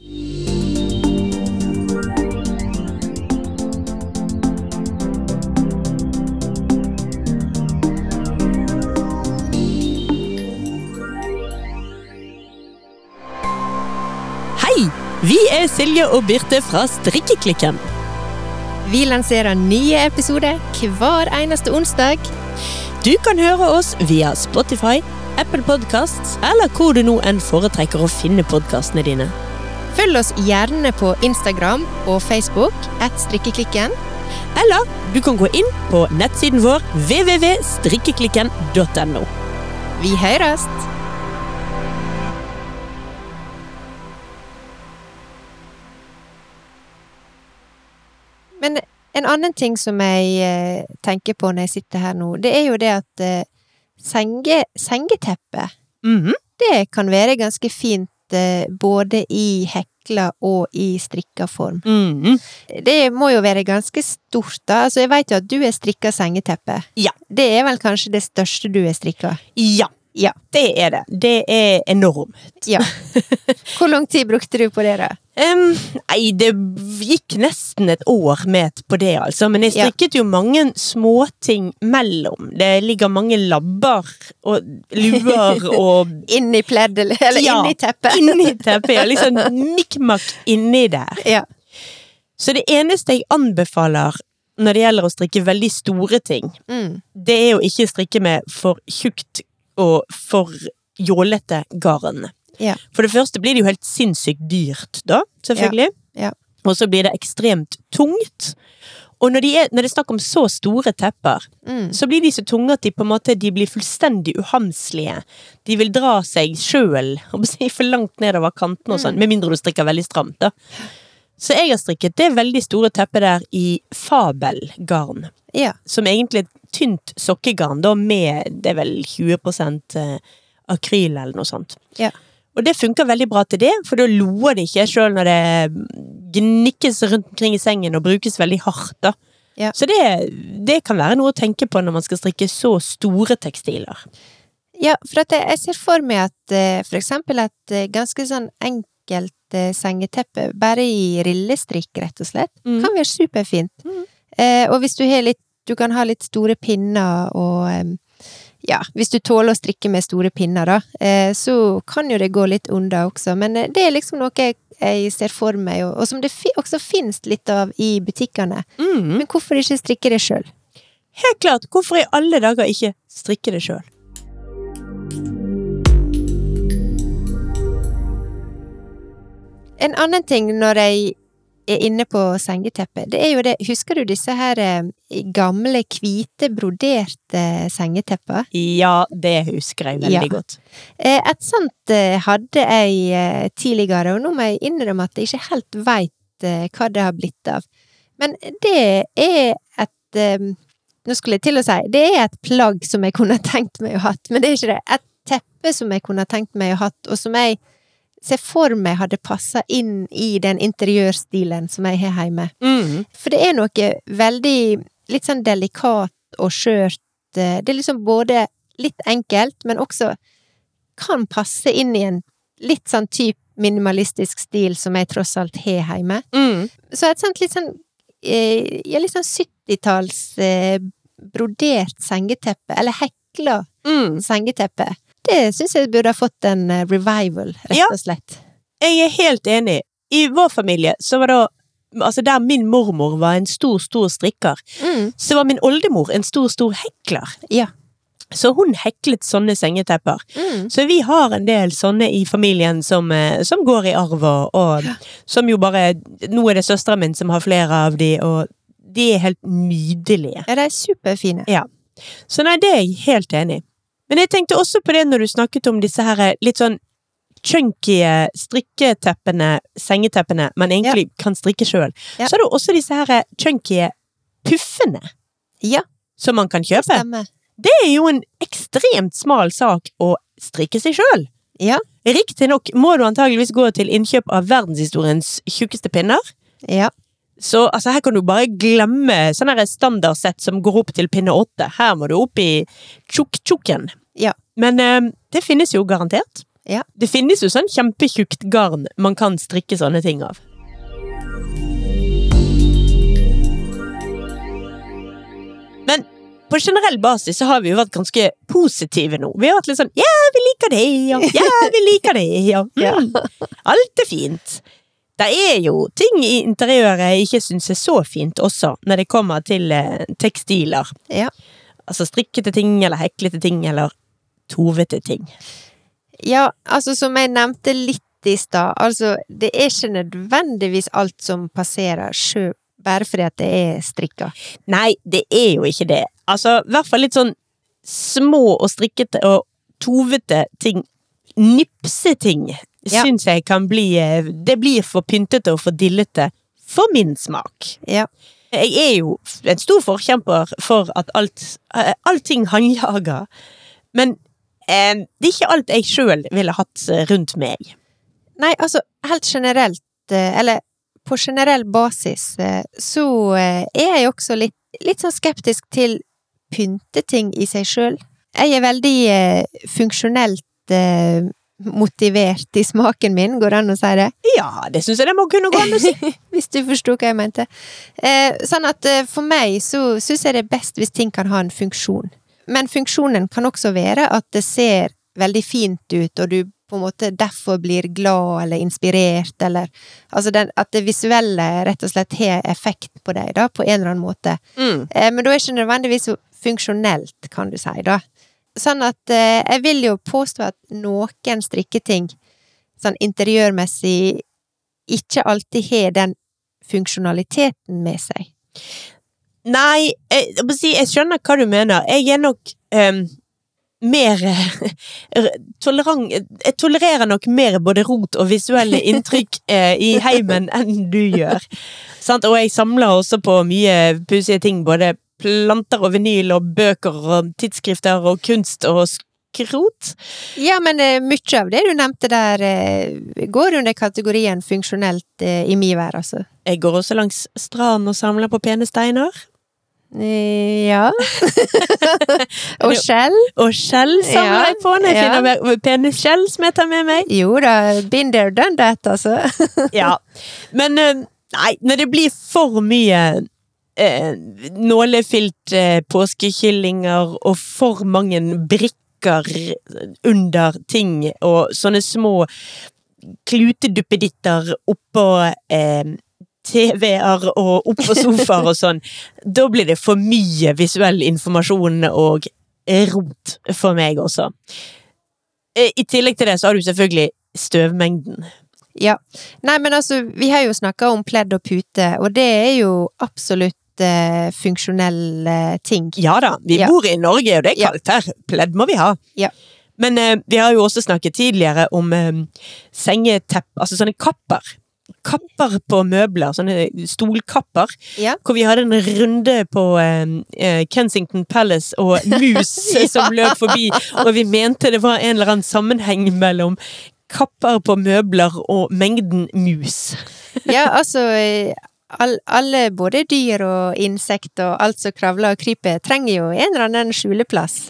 Speaker 1: Hei! Vi er Silje og Birte fra Strikkeklikken.
Speaker 2: Vi lanserer nye episoder hver eneste onsdag.
Speaker 1: Du kan høre oss via Spotify, Apple Podcasts eller hvor du nå enn foretrekker å finne podkastene dine.
Speaker 2: Følg oss gjerne på Instagram og Facebook, at strikkeklikken.
Speaker 1: Eller du kan gå inn på nettsiden vår www.strikkeklikken.no.
Speaker 2: Vi høres! Men en annen ting som jeg eh, tenker på når jeg sitter her nå, det er jo det at eh, senge, sengeteppet,
Speaker 1: Mhm.
Speaker 2: det kan være ganske fint eh, både i hekla og i strikka form.
Speaker 1: Mhm.
Speaker 2: Det må jo være ganske stort, da. Altså, jeg vet jo at du er strikka sengeteppe.
Speaker 1: Ja.
Speaker 2: Det er vel kanskje det største du er strikka?
Speaker 1: Ja.
Speaker 2: Ja.
Speaker 1: Det er det. Det er enormt.
Speaker 2: Ja. Hvor lang tid brukte du på det, da?
Speaker 1: Em, nei, det gikk nesten et år med på det, altså. Men jeg
Speaker 2: Ja.
Speaker 1: strikket jo mange småting mellom. Det ligger mange labber og luer og
Speaker 2: Inni pleddet, eller- eller
Speaker 1: Ja,
Speaker 2: inni teppet?
Speaker 1: inni teppet. og Liksom mikk-makk inni der.
Speaker 2: Ja.
Speaker 1: Så det eneste jeg anbefaler når det gjelder å strikke veldig store ting,
Speaker 2: Mm.
Speaker 1: det er å ikke strikke med for tjukt og for jålete garn.
Speaker 2: Ja.
Speaker 1: For det første blir det jo helt sinnssykt dyrt, da, selvfølgelig.
Speaker 2: Ja, ja.
Speaker 1: Og så blir det ekstremt tungt. Og når, de er, når det er snakk om så store tepper,
Speaker 2: Mm.
Speaker 1: så blir de så tunge at de på en måte de blir fullstendig uhamslige. De vil dra seg sjøl om å si, for langt nedover kantene og sånn, med mindre du strikker veldig stramt, da. Så jeg har strikket det veldig store teppet der i fabelgarn
Speaker 2: ja.
Speaker 1: som egentlig er et tynt sokkegarn, da, med det er vel 20 eh, akryl eller noe sånt.
Speaker 2: Ja.
Speaker 1: Og det funker veldig bra til det, for da loer det ikke sjøl når det gnikkes rundt omkring i sengen og brukes veldig hardt. da.
Speaker 2: Ja.
Speaker 1: Så det, det kan være noe å tenke på når man skal strikke så store tekstiler.
Speaker 2: Ja, for at jeg, jeg ser for meg at eh, for eksempel et eh, ganske sånn enkelt eh, sengeteppe, bare i rillestrikk, rett og slett,
Speaker 1: Mm.
Speaker 2: kan være superfint.
Speaker 1: Mm.
Speaker 2: Eh, og hvis du har litt Du kan ha litt store pinner og em, ja, hvis du tåler å strikke med store pinner, da, eh, så kan jo det gå litt unna også. Men eh, det er liksom noe jeg, jeg ser for meg, og, og som det fi, også finnes litt av i butikkene.
Speaker 1: Mm.
Speaker 2: Men hvorfor ikke strikke det sjøl?
Speaker 1: Helt klart, hvorfor i alle dager ikke strikke det sjøl?
Speaker 2: En annen ting når jeg er inne på sengeteppet, det er jo det Husker du disse her eh, gamle, hvite, broderte eh, sengeteppene?
Speaker 1: Ja, det husker jeg veldig
Speaker 2: Ja.
Speaker 1: godt.
Speaker 2: Eh, Et sånt eh, hadde jeg eh, tidligere, og nå må jeg innrømme at jeg ikke helt veit hva det har blitt av. Men det er et eh, Nå skulle jeg til å si det er et plagg som jeg kunne tenkt meg å hatt, men det er ikke det. Et teppe som jeg kunne tenkt meg å hatt, og som jeg ser for meg hadde passa inn i den interiørstilen som jeg har hjemme.
Speaker 1: Mm.
Speaker 2: For det er noe veldig litt sånn delikat og skjørt. eh, Det er liksom både litt enkelt, men også kan passe inn i en litt sånn typ minimalistisk stil som jeg tross alt har hjemme.
Speaker 1: Mm.
Speaker 2: Så et sånt litt sånn eh, ja, litt sånn 70-talls eh, brodert sengeteppe, eller hekla
Speaker 1: Mm.
Speaker 2: sengeteppe, det syns jeg burde ha fått en eh, revival,
Speaker 1: Ja.
Speaker 2: rett og slett.
Speaker 1: Jeg er helt enig. I vår familie, så var det Altså, der min mormor var en stor, stor strikker,
Speaker 2: Mm.
Speaker 1: så var min oldemor en stor, stor hekler.
Speaker 2: Ja.
Speaker 1: Så hun heklet sånne sengetepper.
Speaker 2: Mm.
Speaker 1: Så vi har en del sånne i familien som, eh, som går i arv, og, og som jo bare Nå er det søsteren min som har flere av de, og de er helt nydelige.
Speaker 2: Ja, de er superfine.
Speaker 1: Så nei, det er jeg helt enig i. Men jeg tenkte også på det når du snakket om disse her eh, litt sånn chunky eh, strikketeppene, sengeteppene, man egentlig kan strikke sjøl.
Speaker 2: Ja.
Speaker 1: Så er det også disse her eh, chunky puffene
Speaker 2: Ja,
Speaker 1: som man kan kjøpe.
Speaker 2: stemmer.
Speaker 1: Det er jo en ekstremt smal sak å strikke seg sjøl.
Speaker 2: Ja.
Speaker 1: Riktignok må du antageligvis gå til innkjøp av verdenshistoriens tjukkeste pinner.
Speaker 2: Ja.
Speaker 1: Så altså, her kan du bare glemme sånne her standardsett som går opp til pinne åtte. Her må du opp i tjukk-tjukken.
Speaker 2: Ja.
Speaker 1: Men eh, det finnes jo garantert.
Speaker 2: Ja.
Speaker 1: Det finnes jo sånn kjempetjukt garn man kan strikke sånne ting av. Men på generell basis så har vi jo vært ganske positive nå. Vi har vært litt sånn 'ja, vi liker det', og 'ja, vi liker det', og
Speaker 2: Ja.
Speaker 1: mm, 'alt er fint'. Det er jo ting i interiøret jeg ikke syns er så fint også, når det kommer til eh, tekstiler.
Speaker 2: Ja.
Speaker 1: Altså strikkete ting, eller heklete ting, eller tovete ting.
Speaker 2: Ja, altså som jeg nevnte litt i stad, altså det er ikke nødvendigvis alt som passerer sjø, bare fordi at det er strikka.
Speaker 1: Nei, det er jo ikke det. Altså, i hvert fall litt sånn små og strikkete og tovete ting. Nipseting
Speaker 2: Ja.
Speaker 1: syns jeg kan bli eh, Det blir for pyntete og for dillete for min smak.
Speaker 2: Ja.
Speaker 1: Jeg er jo en stor forkjemper for at alt, eh, allting håndjager. Men eh, det er ikke alt jeg sjøl ville hatt eh, rundt meg.
Speaker 2: Nei, altså helt generelt, eh, eller på generell basis, eh, så eh, er jeg også litt, litt sånn skeptisk til pynteting i seg sjøl. Jeg er veldig eh, funksjonelt eh, motivert i smaken min, går det an å si det?
Speaker 1: Ja, det syns jeg det må kunne gå an å si.
Speaker 2: Hvis du forsto hva jeg mente. Eh, sånn at eh, for meg så syns jeg det er best hvis ting kan ha en funksjon. Men funksjonen kan også være at det ser veldig fint ut, og du på en måte derfor blir glad eller inspirert, eller Altså den, at det visuelle rett og slett har effekt på deg, da, på en eller annen måte.
Speaker 1: Mm.
Speaker 2: Eh, men da er det ikke nødvendigvis så funksjonelt, kan du si, da. Sånn at eh, jeg vil jo påstå at noen strikketing, sånn interiørmessig, ikke alltid har den funksjonaliteten med seg.
Speaker 1: Nei, jeg, jeg, må si, jeg skjønner hva du mener. Jeg er nok ehm, mer eh, tolerant Jeg tolererer nok mer både rot og visuelle inntrykk eh, i heimen enn du gjør. Sant? Og jeg samler også på mye pussige ting. Både planter og vinyl og bøker og tidsskrifter og kunst og skrot.
Speaker 2: Ja, men eh, mye av det du nevnte der, eh, går under kategorien funksjonelt eh, i min vær, altså.
Speaker 1: Jeg går også langs stranden og samler på pene steiner.
Speaker 2: Eh, Ja. Og skjell?
Speaker 1: Og skjell samler
Speaker 2: Ja,
Speaker 1: jeg på når jeg
Speaker 2: ja.
Speaker 1: finner pene skjell som jeg tar med meg.
Speaker 2: Jo da, been there, done that, altså.
Speaker 1: Ja, men eh, nei, når det blir for mye eh, nålefylt eh, påskekyllinger og for mange brikker under ting og sånne små kluteduppeditter oppå eh, TV-er og oppå sofaer og sånn, da blir det for mye visuell informasjon og rot for meg også. Eh, I tillegg til det så har du selvfølgelig støvmengden.
Speaker 2: Ja. Nei, men altså, vi har jo snakka om pledd og pute, og det er jo absolutt eh, funksjonelle ting.
Speaker 1: Ja da, vi
Speaker 2: Ja.
Speaker 1: bor i Norge, og det er
Speaker 2: Ja.
Speaker 1: kaldt her. Pledd må vi ha.
Speaker 2: Ja.
Speaker 1: Men eh, vi har jo også snakket tidligere om eh, sengetepp, altså sånne kapper. Kapper på møbler, sånne stolkapper.
Speaker 2: Ja.
Speaker 1: Hvor vi hadde en runde på eh, eh, Kensington Palace og mus
Speaker 2: Ja.
Speaker 1: som løp forbi, og vi mente det var en eller annen sammenheng mellom kapper på møbler og mengden mus.
Speaker 2: Ja, altså eh, all, Alle, både dyr og insekt og alt som kravler og kryper, trenger jo en eller annen skjuleplass.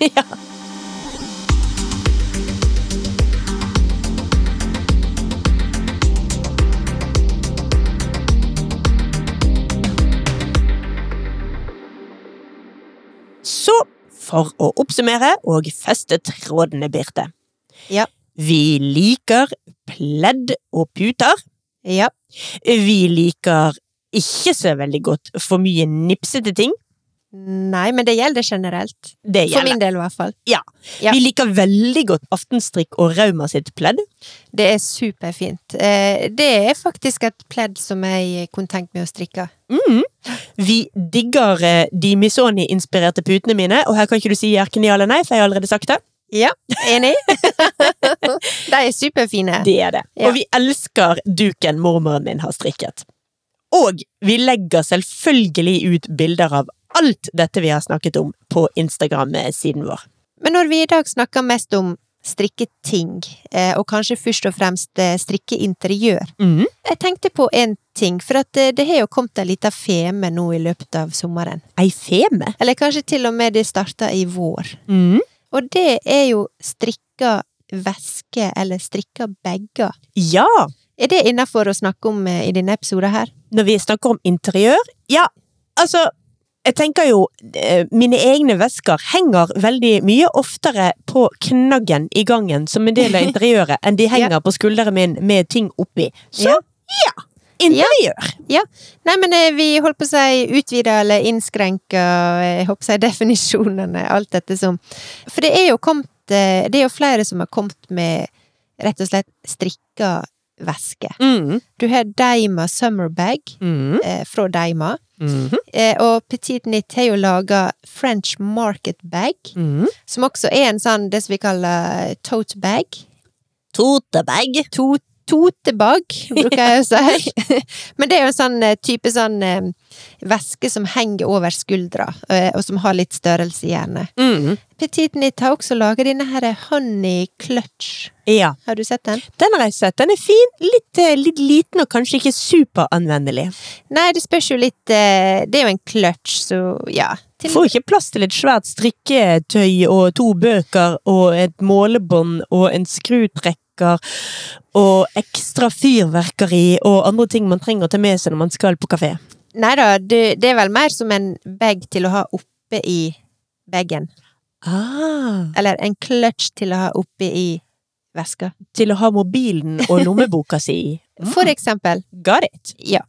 Speaker 1: Så for å oppsummere og feste trådene, Birte.
Speaker 2: Ja.
Speaker 1: Vi liker pledd og puter.
Speaker 2: Ja.
Speaker 1: Vi liker ikke så veldig godt for mye nipsete ting.
Speaker 2: Nei, men det gjelder generelt.
Speaker 1: Det
Speaker 2: For
Speaker 1: gjelder.
Speaker 2: min del, i hvert fall. ja.
Speaker 1: Vi liker veldig godt aftenstrikk og Rauma sitt pledd.
Speaker 2: Det er superfint. Eh, Det er faktisk et pledd som jeg kunne tenkt meg å strikke.
Speaker 1: Mhm. Vi digger eh, de Misoni-inspirerte putene mine, og her kan ikke du si jerken ja eller nei, for jeg har allerede sagt det.
Speaker 2: Ja, enig? De er superfine.
Speaker 1: Det er det.
Speaker 2: Ja.
Speaker 1: Og vi elsker duken mormoren min har strikket. Og vi legger selvfølgelig ut bilder av alt dette vi har snakket om på Instagram-siden vår.
Speaker 2: Men når vi i dag snakker mest om strikketing, eh, og kanskje først og fremst eh, strikkeinteriør
Speaker 1: Mhm.
Speaker 2: Jeg tenkte på én ting, for at eh, det har jo kommet en liten feme nå i løpet av sommeren.
Speaker 1: Ei feme.
Speaker 2: Eller kanskje til og med det starta i vår.
Speaker 1: Mhm.
Speaker 2: Og det er jo strikka væske, eller strikka bager.
Speaker 1: Ja!
Speaker 2: Er det innafor å snakke om eh, i denne episoden her?
Speaker 1: Når vi snakker om interiør Ja, altså jeg tenker jo, eh, Mine egne vesker henger veldig mye oftere på knaggen i gangen som en del av interiøret enn de henger på skulderen min med ting oppi. Så ja!
Speaker 2: Ja.
Speaker 1: interiør!
Speaker 2: Nei, men eh, vi holdt på å si utvida eller innskrenka eh, jeg holdt på å si definisjonene, alt dette som For det er jo kommet eh, Det er jo flere som har kommet med rett og slett strikka væske.
Speaker 1: Mm.
Speaker 2: Du har Deima Summerbag
Speaker 1: Mm.
Speaker 2: eh, fra Deima.
Speaker 1: Mhm.
Speaker 2: Eh, og Petit Nit har jo laga French Market Bag,
Speaker 1: Mm.
Speaker 2: som også er en sånn det som vi kaller tote bag.
Speaker 1: Totebag.
Speaker 2: to, totebag, bruker jeg å si. Men det er jo en sånn eh, type sånn eh, væske som henger over skuldra, eh, og som har litt størrelse i hjernen. Petit Nit har også laget denne her Honey Clutch.
Speaker 1: Ja.
Speaker 2: Har du sett den?
Speaker 1: Den har jeg sett. Den er fin, litt, eh, litt liten og kanskje ikke superanvendelig.
Speaker 2: Nei, det spørs jo litt eh, Det er jo en clutch, så ja. Til,
Speaker 1: Får ikke plass til et svært strikketøy og to bøker og et målebånd og en skrutrekker og ekstra fyrverkeri og andre ting man trenger å ta med seg når man skal på kafé.
Speaker 2: nei da, det, det er vel mer som en bag til å ha oppe i bagen.
Speaker 1: Ah.
Speaker 2: Eller en clutch til å ha oppe i veska.
Speaker 1: Til å ha mobilen og lommeboka si i.
Speaker 2: For eksempel.
Speaker 1: Got it.
Speaker 2: Ja.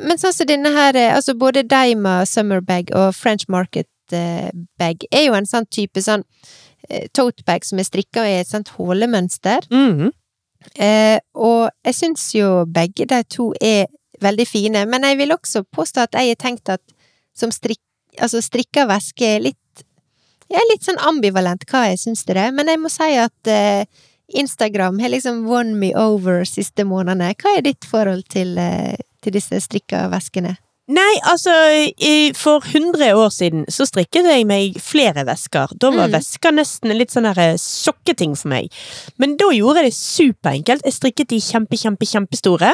Speaker 2: Men sånn som denne her, eh, altså både Daima Summerbag og French Market eh, Bag er jo en sånn type sånn eh, tote bag som er strikka i et sånt hålemønster.
Speaker 1: Mhm.
Speaker 2: Eh, og jeg syns jo begge de to er veldig fine, men jeg vil også påstå at jeg har tenkt at som strikk, altså strikka væske er litt Jeg er litt sånn ambivalent hva jeg syns til det, men jeg må si at eh, Instagram har liksom won me over siste månedene. Hva er ditt forhold til, eh, til disse strikka væskene?
Speaker 1: Nei, altså, i- for 100 år siden så strikket jeg meg flere vesker. Da var
Speaker 2: Mm.
Speaker 1: vesker nesten en litt sånn her, eh, sokketing for meg. Men da gjorde jeg det superenkelt. Jeg strikket de kjempe, kjempe, kjempestore.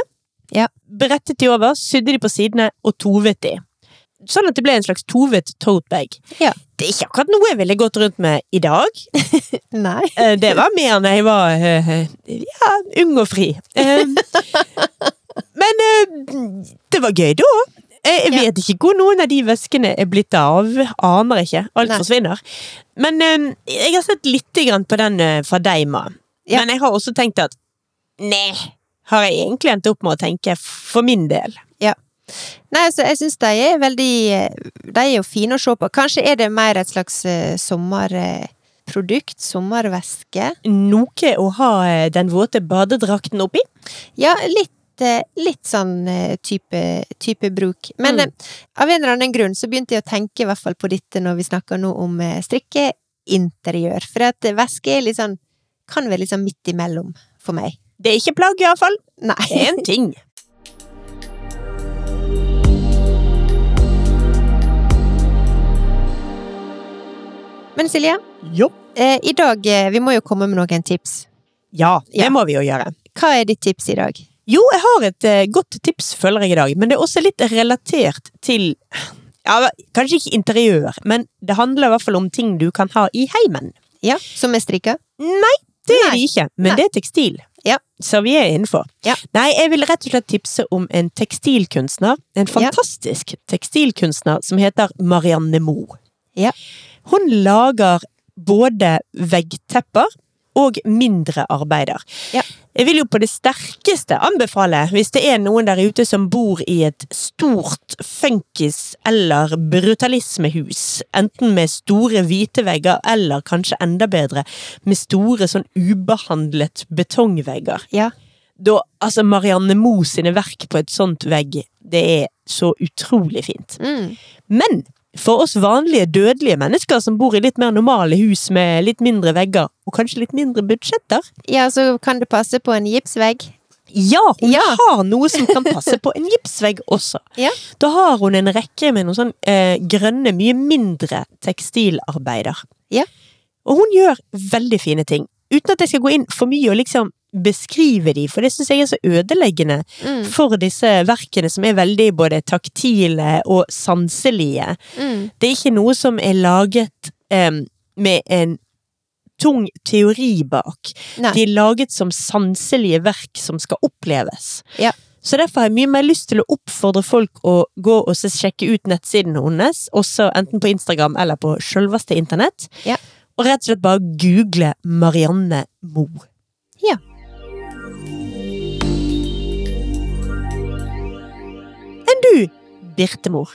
Speaker 2: Ja.
Speaker 1: Brettet de over, sydde de på sidene og tovet de. Sånn at det ble en slags tovet totebag.
Speaker 2: Ja.
Speaker 1: Det er ikke akkurat noe jeg ville gått rundt med i dag.
Speaker 2: Nei.
Speaker 1: Eh, Det var mer når jeg var eh, eh, ja, ung og fri. Eh, Men eh, det var gøy da. Eh, Jeg
Speaker 2: Ja.
Speaker 1: vet ikke hvor noen av de veskene er blitt av. Aner ikke. Alt
Speaker 2: Nei.
Speaker 1: forsvinner. Men eh, jeg har sett litt grann på den eh, fra Deima.
Speaker 2: Ja.
Speaker 1: Men jeg har også tenkt at nei, har jeg egentlig endt opp med å tenke for min del.
Speaker 2: Nei, altså, jeg syns de er veldig eh, De er jo fine å se på. Kanskje er det mer et slags eh, sommer... Eh, produkt, sommervæske.
Speaker 1: Noe å ha eh, den våte badedrakten oppi.
Speaker 2: Ja, litt, eh, litt sånn eh, type, type bruk. Men
Speaker 1: Mm.
Speaker 2: eh, av en eller annen grunn så begynte jeg å tenke i hvert fall på dette når vi snakker nå om eh, strikkeinteriør. For at eh, væske er litt sånn, kan være litt sånn midt imellom for meg.
Speaker 1: Det er ikke plagg, iallfall.
Speaker 2: Nei.
Speaker 1: Det er en ting.
Speaker 2: Men Silje,
Speaker 1: Jo.
Speaker 2: eh, i dag eh, vi må jo komme med noen tips.
Speaker 1: Ja, det
Speaker 2: Ja.
Speaker 1: må vi jo gjøre.
Speaker 2: Hva er ditt tips i dag?
Speaker 1: Jo, jeg har et eh, godt tips, føler jeg i dag, men det er også litt relatert til ja, Kanskje ikke interiør, men det handler i hvert fall om ting du kan ha i heimen.
Speaker 2: Ja, som er strikka?
Speaker 1: Nei, det er
Speaker 2: Nei.
Speaker 1: det ikke, men
Speaker 2: Nei.
Speaker 1: det er tekstil.
Speaker 2: Ja.
Speaker 1: Så vi er innenfor.
Speaker 2: Ja.
Speaker 1: Nei, jeg vil rett og slett tipse om en tekstilkunstner. En fantastisk tekstilkunstner som heter Marianne Moe.
Speaker 2: Ja.
Speaker 1: Hun lager både veggtepper og mindre arbeider.
Speaker 2: Ja.
Speaker 1: Jeg vil jo på det sterkeste anbefale, hvis det er noen der ute som bor i et stort funkis- eller brutalismehus, enten med store hvite vegger eller kanskje enda bedre med store sånn ubehandlet betongvegger.
Speaker 2: Ja.
Speaker 1: Da, altså Marianne Moe sine verk på et sånt vegg, det er så utrolig fint.
Speaker 2: Mm.
Speaker 1: Men for oss vanlige dødelige mennesker som bor i litt mer normale hus med litt mindre vegger, og kanskje litt mindre budsjetter,
Speaker 2: Ja, så kan det passe på en gipsvegg.
Speaker 1: ja, hun
Speaker 2: Ja.
Speaker 1: har noe som kan passe på en gipsvegg også.
Speaker 2: Ja.
Speaker 1: Da har hun en rekke med noen sånn eh, grønne, mye mindre tekstilarbeider.
Speaker 2: Ja.
Speaker 1: Og hun gjør veldig fine ting. Uten at jeg skal gå inn for mye og liksom beskrive de, for det syns jeg er så ødeleggende
Speaker 2: Mm.
Speaker 1: for disse verkene som er veldig både taktile og sanselige.
Speaker 2: Mm.
Speaker 1: Det er ikke noe som er laget em, med en tung teori bak.
Speaker 2: Nei.
Speaker 1: De er laget som sanselige verk som skal oppleves.
Speaker 2: Ja.
Speaker 1: Så derfor har jeg mye mer lyst til å oppfordre folk å gå og se- sjekke ut nettsidene hennes, også enten på Instagram eller på selveste internett,
Speaker 2: Ja.
Speaker 1: og rett og slett bare google Marianne Moe.
Speaker 2: Ja.
Speaker 1: Enn du, Birtemor?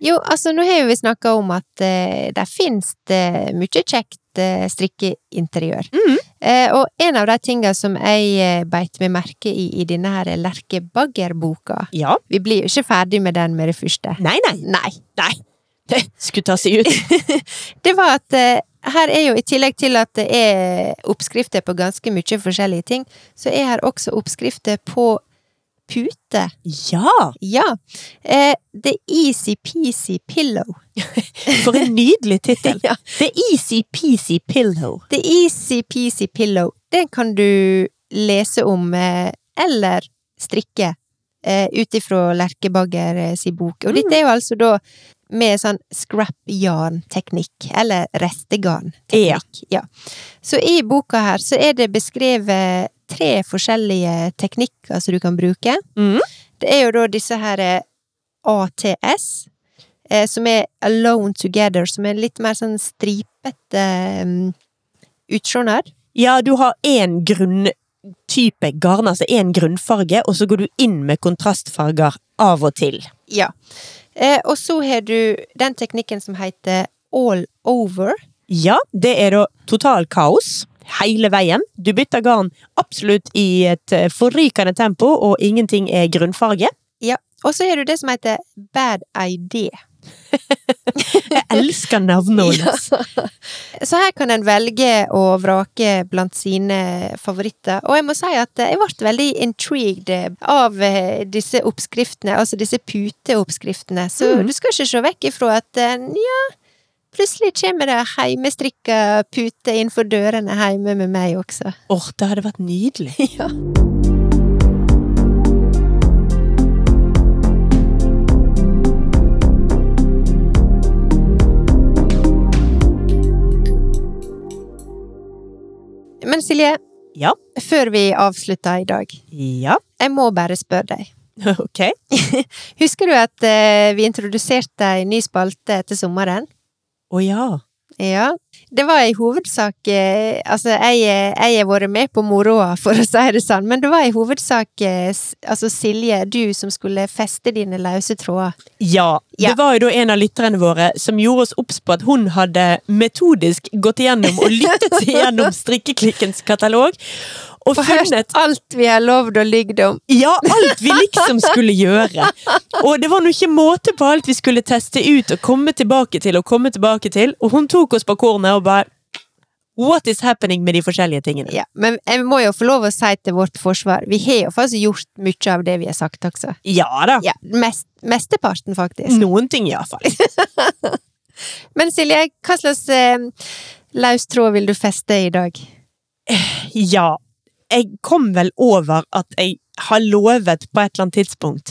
Speaker 2: Jo, altså nå har jo vi snakka om at eh, der finnes det mye kjekt eh, strikkeinteriør.
Speaker 1: Mhm.
Speaker 2: Eh, og en av de tinga som jeg eh, beit meg merke i i denne her Lerke Bagger-boka
Speaker 1: Ja.
Speaker 2: Vi blir jo ikke ferdig med den med det første.
Speaker 1: Nei, nei.
Speaker 2: Nei.
Speaker 1: Det skulle ta seg ut.
Speaker 2: Det var at eh, her er jo i tillegg til at det er oppskrifter på ganske mye forskjellige ting, så er her også oppskrifter på puter.
Speaker 1: Ja!
Speaker 2: Ja. Eh, the Easy-Peasy Pillow.
Speaker 1: For en nydelig tittel.
Speaker 2: Ja.
Speaker 1: The Easy Peasy Pillow.
Speaker 2: The Easy Peasy Pillow, den kan du lese om eh, eller strikke eh, ut ifra Lerke Bagger eh, si bok. Og dette er jo altså da med sånn scrap-yarn-teknikk, eller restegarn-teknikk. Ja. Så i boka her så er det beskrevet tre forskjellige teknikker som du kan bruke.
Speaker 1: Mm.
Speaker 2: Det er jo da disse her eh, ATS, eh, som er Alone Together, som er litt mer sånn stripete um, utsjåner.
Speaker 1: Ja, du har én grunntype garn, altså én grunnfarge, og så går du inn med kontrastfarger av og til.
Speaker 2: Ja. Eh, og så har du den teknikken som heter All Over.
Speaker 1: Ja, det er da total kaos hele veien. Du bytter garn absolutt i et eh, forrykende tempo, og ingenting er grunnfarge.
Speaker 2: Og så har du det som heter Bad Idea.
Speaker 1: Jeg elsker navnet
Speaker 2: Ja.
Speaker 1: hennes.
Speaker 2: Så her kan en velge og vrake blant sine favoritter. Og jeg må si at jeg ble veldig intrigued av eh, disse oppskriftene, altså disse puteoppskriftene. Så
Speaker 1: Mm.
Speaker 2: du skal ikke se vekk ifra at eh, nja, plutselig kommer det heimestrikka pute innenfor dørene hjemme med meg også.
Speaker 1: Åh, det hadde vært nydelig.
Speaker 2: Ja. Men Silje,
Speaker 1: Ja.
Speaker 2: før vi avslutter i dag,
Speaker 1: Ja,
Speaker 2: jeg må bare spørre deg.
Speaker 1: ok.
Speaker 2: Husker du at eh, vi introduserte ei ny spalte etter sommeren?
Speaker 1: Å ja.
Speaker 2: Ja. Det var i hovedsak eh, Altså, jeg, eh, jeg har vært med på moroa, for å si det sånn, men det var i hovedsak eh, s- Altså, Silje, du som skulle feste dine løse tråder.
Speaker 1: Ja,
Speaker 2: Ja.
Speaker 1: det var jo da en av lytterne våre som gjorde oss obs på at hun hadde metodisk gått igjennom og lyttet seg gjennom strikkeklikkens katalog, og
Speaker 2: For hørt
Speaker 1: funnet
Speaker 2: alt vi har lovd og lygd om.
Speaker 1: ja, alt vi liksom skulle gjøre. Og det var nå ikke måte på alt vi skulle teste ut og komme tilbake til og komme tilbake til, og hun tok oss på kornet og bare What is happening med de forskjellige tingene?
Speaker 2: Ja, men jeg må jo få lov å si til vårt forsvar, vi har jo faktisk gjort mye av det vi har sagt også.
Speaker 1: Ja da.
Speaker 2: Ja, Mm. mest, mesteparten, faktisk.
Speaker 1: Noen ting, iallfall.
Speaker 2: Men Silje, hva slags eh, løs tråd vil du feste i dag?
Speaker 1: Ja. Jeg kom vel over at jeg har lovet på et eller annet tidspunkt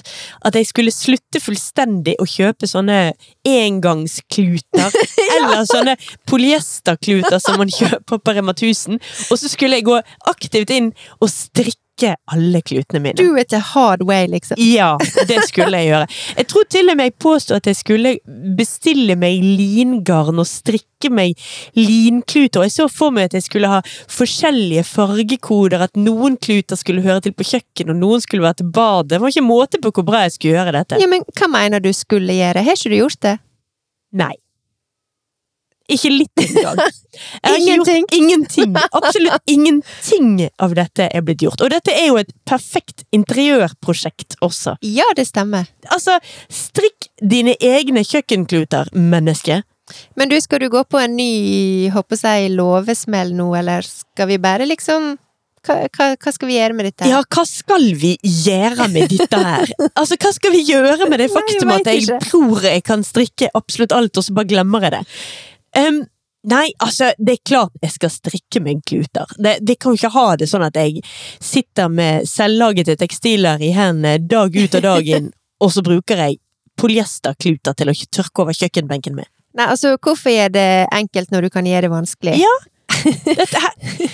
Speaker 1: at jeg skulle slutte fullstendig å kjøpe sånne engangskluter, eller sånne polyesterkluter som man kjøper på Rema 1000, og så skulle jeg gå aktivt inn og strikke alle klutene mine.
Speaker 2: Do it the hard way, liksom.
Speaker 1: Ja, det skulle jeg gjøre. Jeg tror til og med jeg påstod at jeg skulle bestille meg lingarn og strikke meg linkluter. Jeg så for meg at jeg skulle ha forskjellige fargekoder, at noen kluter skulle høre til på kjøkken, og noen skulle være til badet. Det var ikke måte på hvor bra jeg skulle gjøre dette.
Speaker 2: Ja, men hva mener du skulle gjøre? Har ikke du gjort det?
Speaker 1: Nei. Ikke litt engang. Jeg har ikke
Speaker 2: Ingenting.
Speaker 1: Gjort ingenting. Absolutt ingenting av dette er blitt gjort. Og dette er jo et perfekt interiørprosjekt også.
Speaker 2: Ja, det stemmer.
Speaker 1: Altså, strikk dine egne kjøkkenkluter, menneske.
Speaker 2: Men du, skal du gå på en ny, håper jeg, lovesmell nå, eller skal vi bare liksom hva, hva, hva skal vi gjøre med dette?
Speaker 1: Ja, hva skal vi gjøre med dette her? Altså, hva skal vi gjøre med det
Speaker 2: Nei, jeg
Speaker 1: faktum at
Speaker 2: vet
Speaker 1: jeg
Speaker 2: ikke.
Speaker 1: tror jeg kan strikke absolutt alt, og så bare glemmer jeg det? Em, nei, altså, det er klart jeg skal strikke meg kluter. Det, det kan jo ikke ha det sånn at jeg sitter med selvlagete tekstiler i hendene dag ut og dag inn, og så bruker jeg polyesterkluter til å tørke over kjøkkenbenken med.
Speaker 2: Nei, altså, hvorfor gjøre det enkelt når du kan gjøre det vanskelig?
Speaker 1: Ja. Dette her,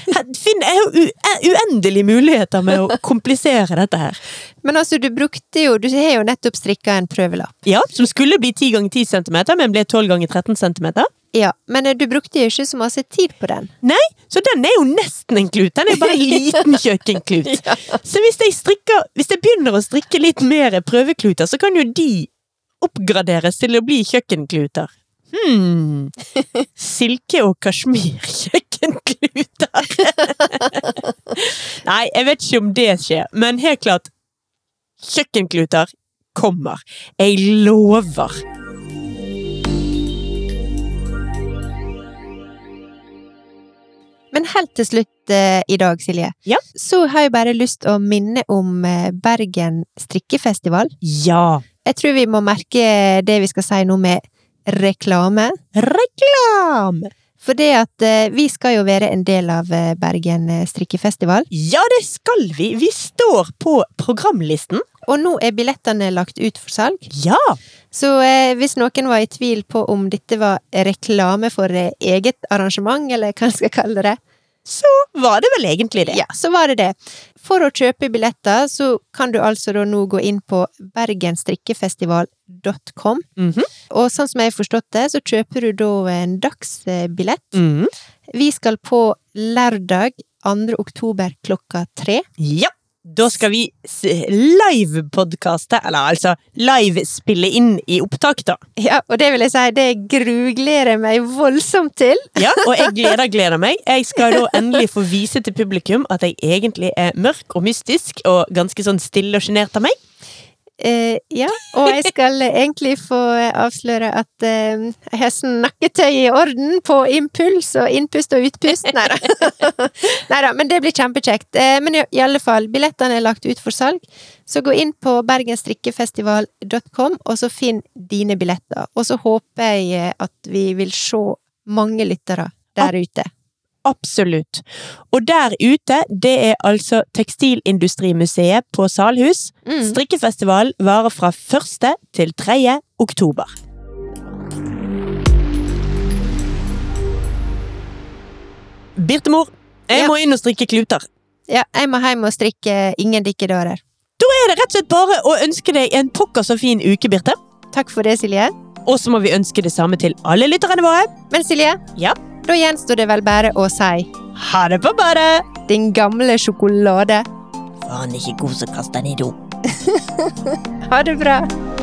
Speaker 1: her, Finn, er jo u, er uendelige muligheter med å komplisere dette her.
Speaker 2: Men altså, du brukte jo Du har jo nettopp strikka en prøvelapp.
Speaker 1: Ja, Som skulle bli 10 ganger 10 cm, men ble 12 ganger 13 cm.
Speaker 2: Ja, men eh, du brukte jo ikke så masse tid på den.
Speaker 1: Nei, så den er jo nesten en klut. Den er bare en liten kjøkkenklut. Så hvis jeg, strikker, hvis jeg begynner å strikke litt mer prøvekluter, så kan jo de oppgraderes til å bli kjøkkenkluter. Hmm. Silke- og kasjmirkjøkkenkluter. Nei, jeg vet ikke om det skjer, men helt klart Kjøkkenkluter kommer. Jeg lover.
Speaker 2: Men helt til slutt eh, i dag, Silje,
Speaker 1: Ja.
Speaker 2: så har jeg bare lyst å minne om eh, Bergen strikkefestival.
Speaker 1: Ja.
Speaker 2: Jeg tror vi må merke det vi skal si nå med reklame.
Speaker 1: Reklam!
Speaker 2: For det at eh, vi skal jo være en del av eh, Bergen eh, strikkefestival.
Speaker 1: Ja, det skal vi. Vi står på programlisten.
Speaker 2: Og nå er billettene lagt ut for salg.
Speaker 1: Ja!
Speaker 2: Så eh, hvis noen var i tvil på om dette var reklame for eh, eget arrangement, eller hva en skal kalle det,
Speaker 1: Var det vel egentlig det?
Speaker 2: ja, så var det det. For å kjøpe billetter så kan du altså da nå gå inn på bergenstrikkefestival.com.
Speaker 1: Mhm.
Speaker 2: Og sånn som jeg har forstått det, så kjøper du da en dagsbillett.
Speaker 1: Mhm.
Speaker 2: Vi skal på lørdag 2. oktober klokka tre.
Speaker 1: Ja. Da skal vi s- live-podcaste, eller altså live-spille inn i opptak, da.
Speaker 2: Ja, og det vil jeg si, det grugleder jeg meg voldsomt til.
Speaker 1: Ja, og jeg gleder, gleder meg. Jeg skal da endelig få vise til publikum at jeg egentlig er mørk og mystisk og ganske sånn stille og sjenert av meg.
Speaker 2: Eh, ja, og jeg skal egentlig få avsløre at eh, jeg har snakketøy i orden på impuls og innpust og utpust. Nei da. men det blir kjempekjekt. Eh, men i, i alle fall, billettene er lagt ut for salg. Så gå inn på bergenstrikkefestival.com, og så finn dine billetter. Og så håper jeg eh, at vi vil se mange lyttere der ute.
Speaker 1: Absolutt. Og der ute, det er altså Tekstilindustrimuseet på Salhus.
Speaker 2: Mm.
Speaker 1: Strikkefestivalen varer fra 1. til 3. oktober. Birtemor, jeg
Speaker 2: Ja.
Speaker 1: må inn og strikke kluter.
Speaker 2: Ja, jeg må hjem og strikke ingen dikkedarer.
Speaker 1: Da er det rett og slett bare å ønske deg en pokker så fin uke, Birte.
Speaker 2: Takk for det, Silje.
Speaker 1: Og så må vi ønske det samme til alle lytterne våre.
Speaker 2: Men Silje,
Speaker 1: Ja.
Speaker 2: da gjenstår det vel bare å si
Speaker 1: Ha det på badet!
Speaker 2: din gamle sjokolade.
Speaker 1: Var han ikke god, så kast den i do.
Speaker 2: Ha det bra!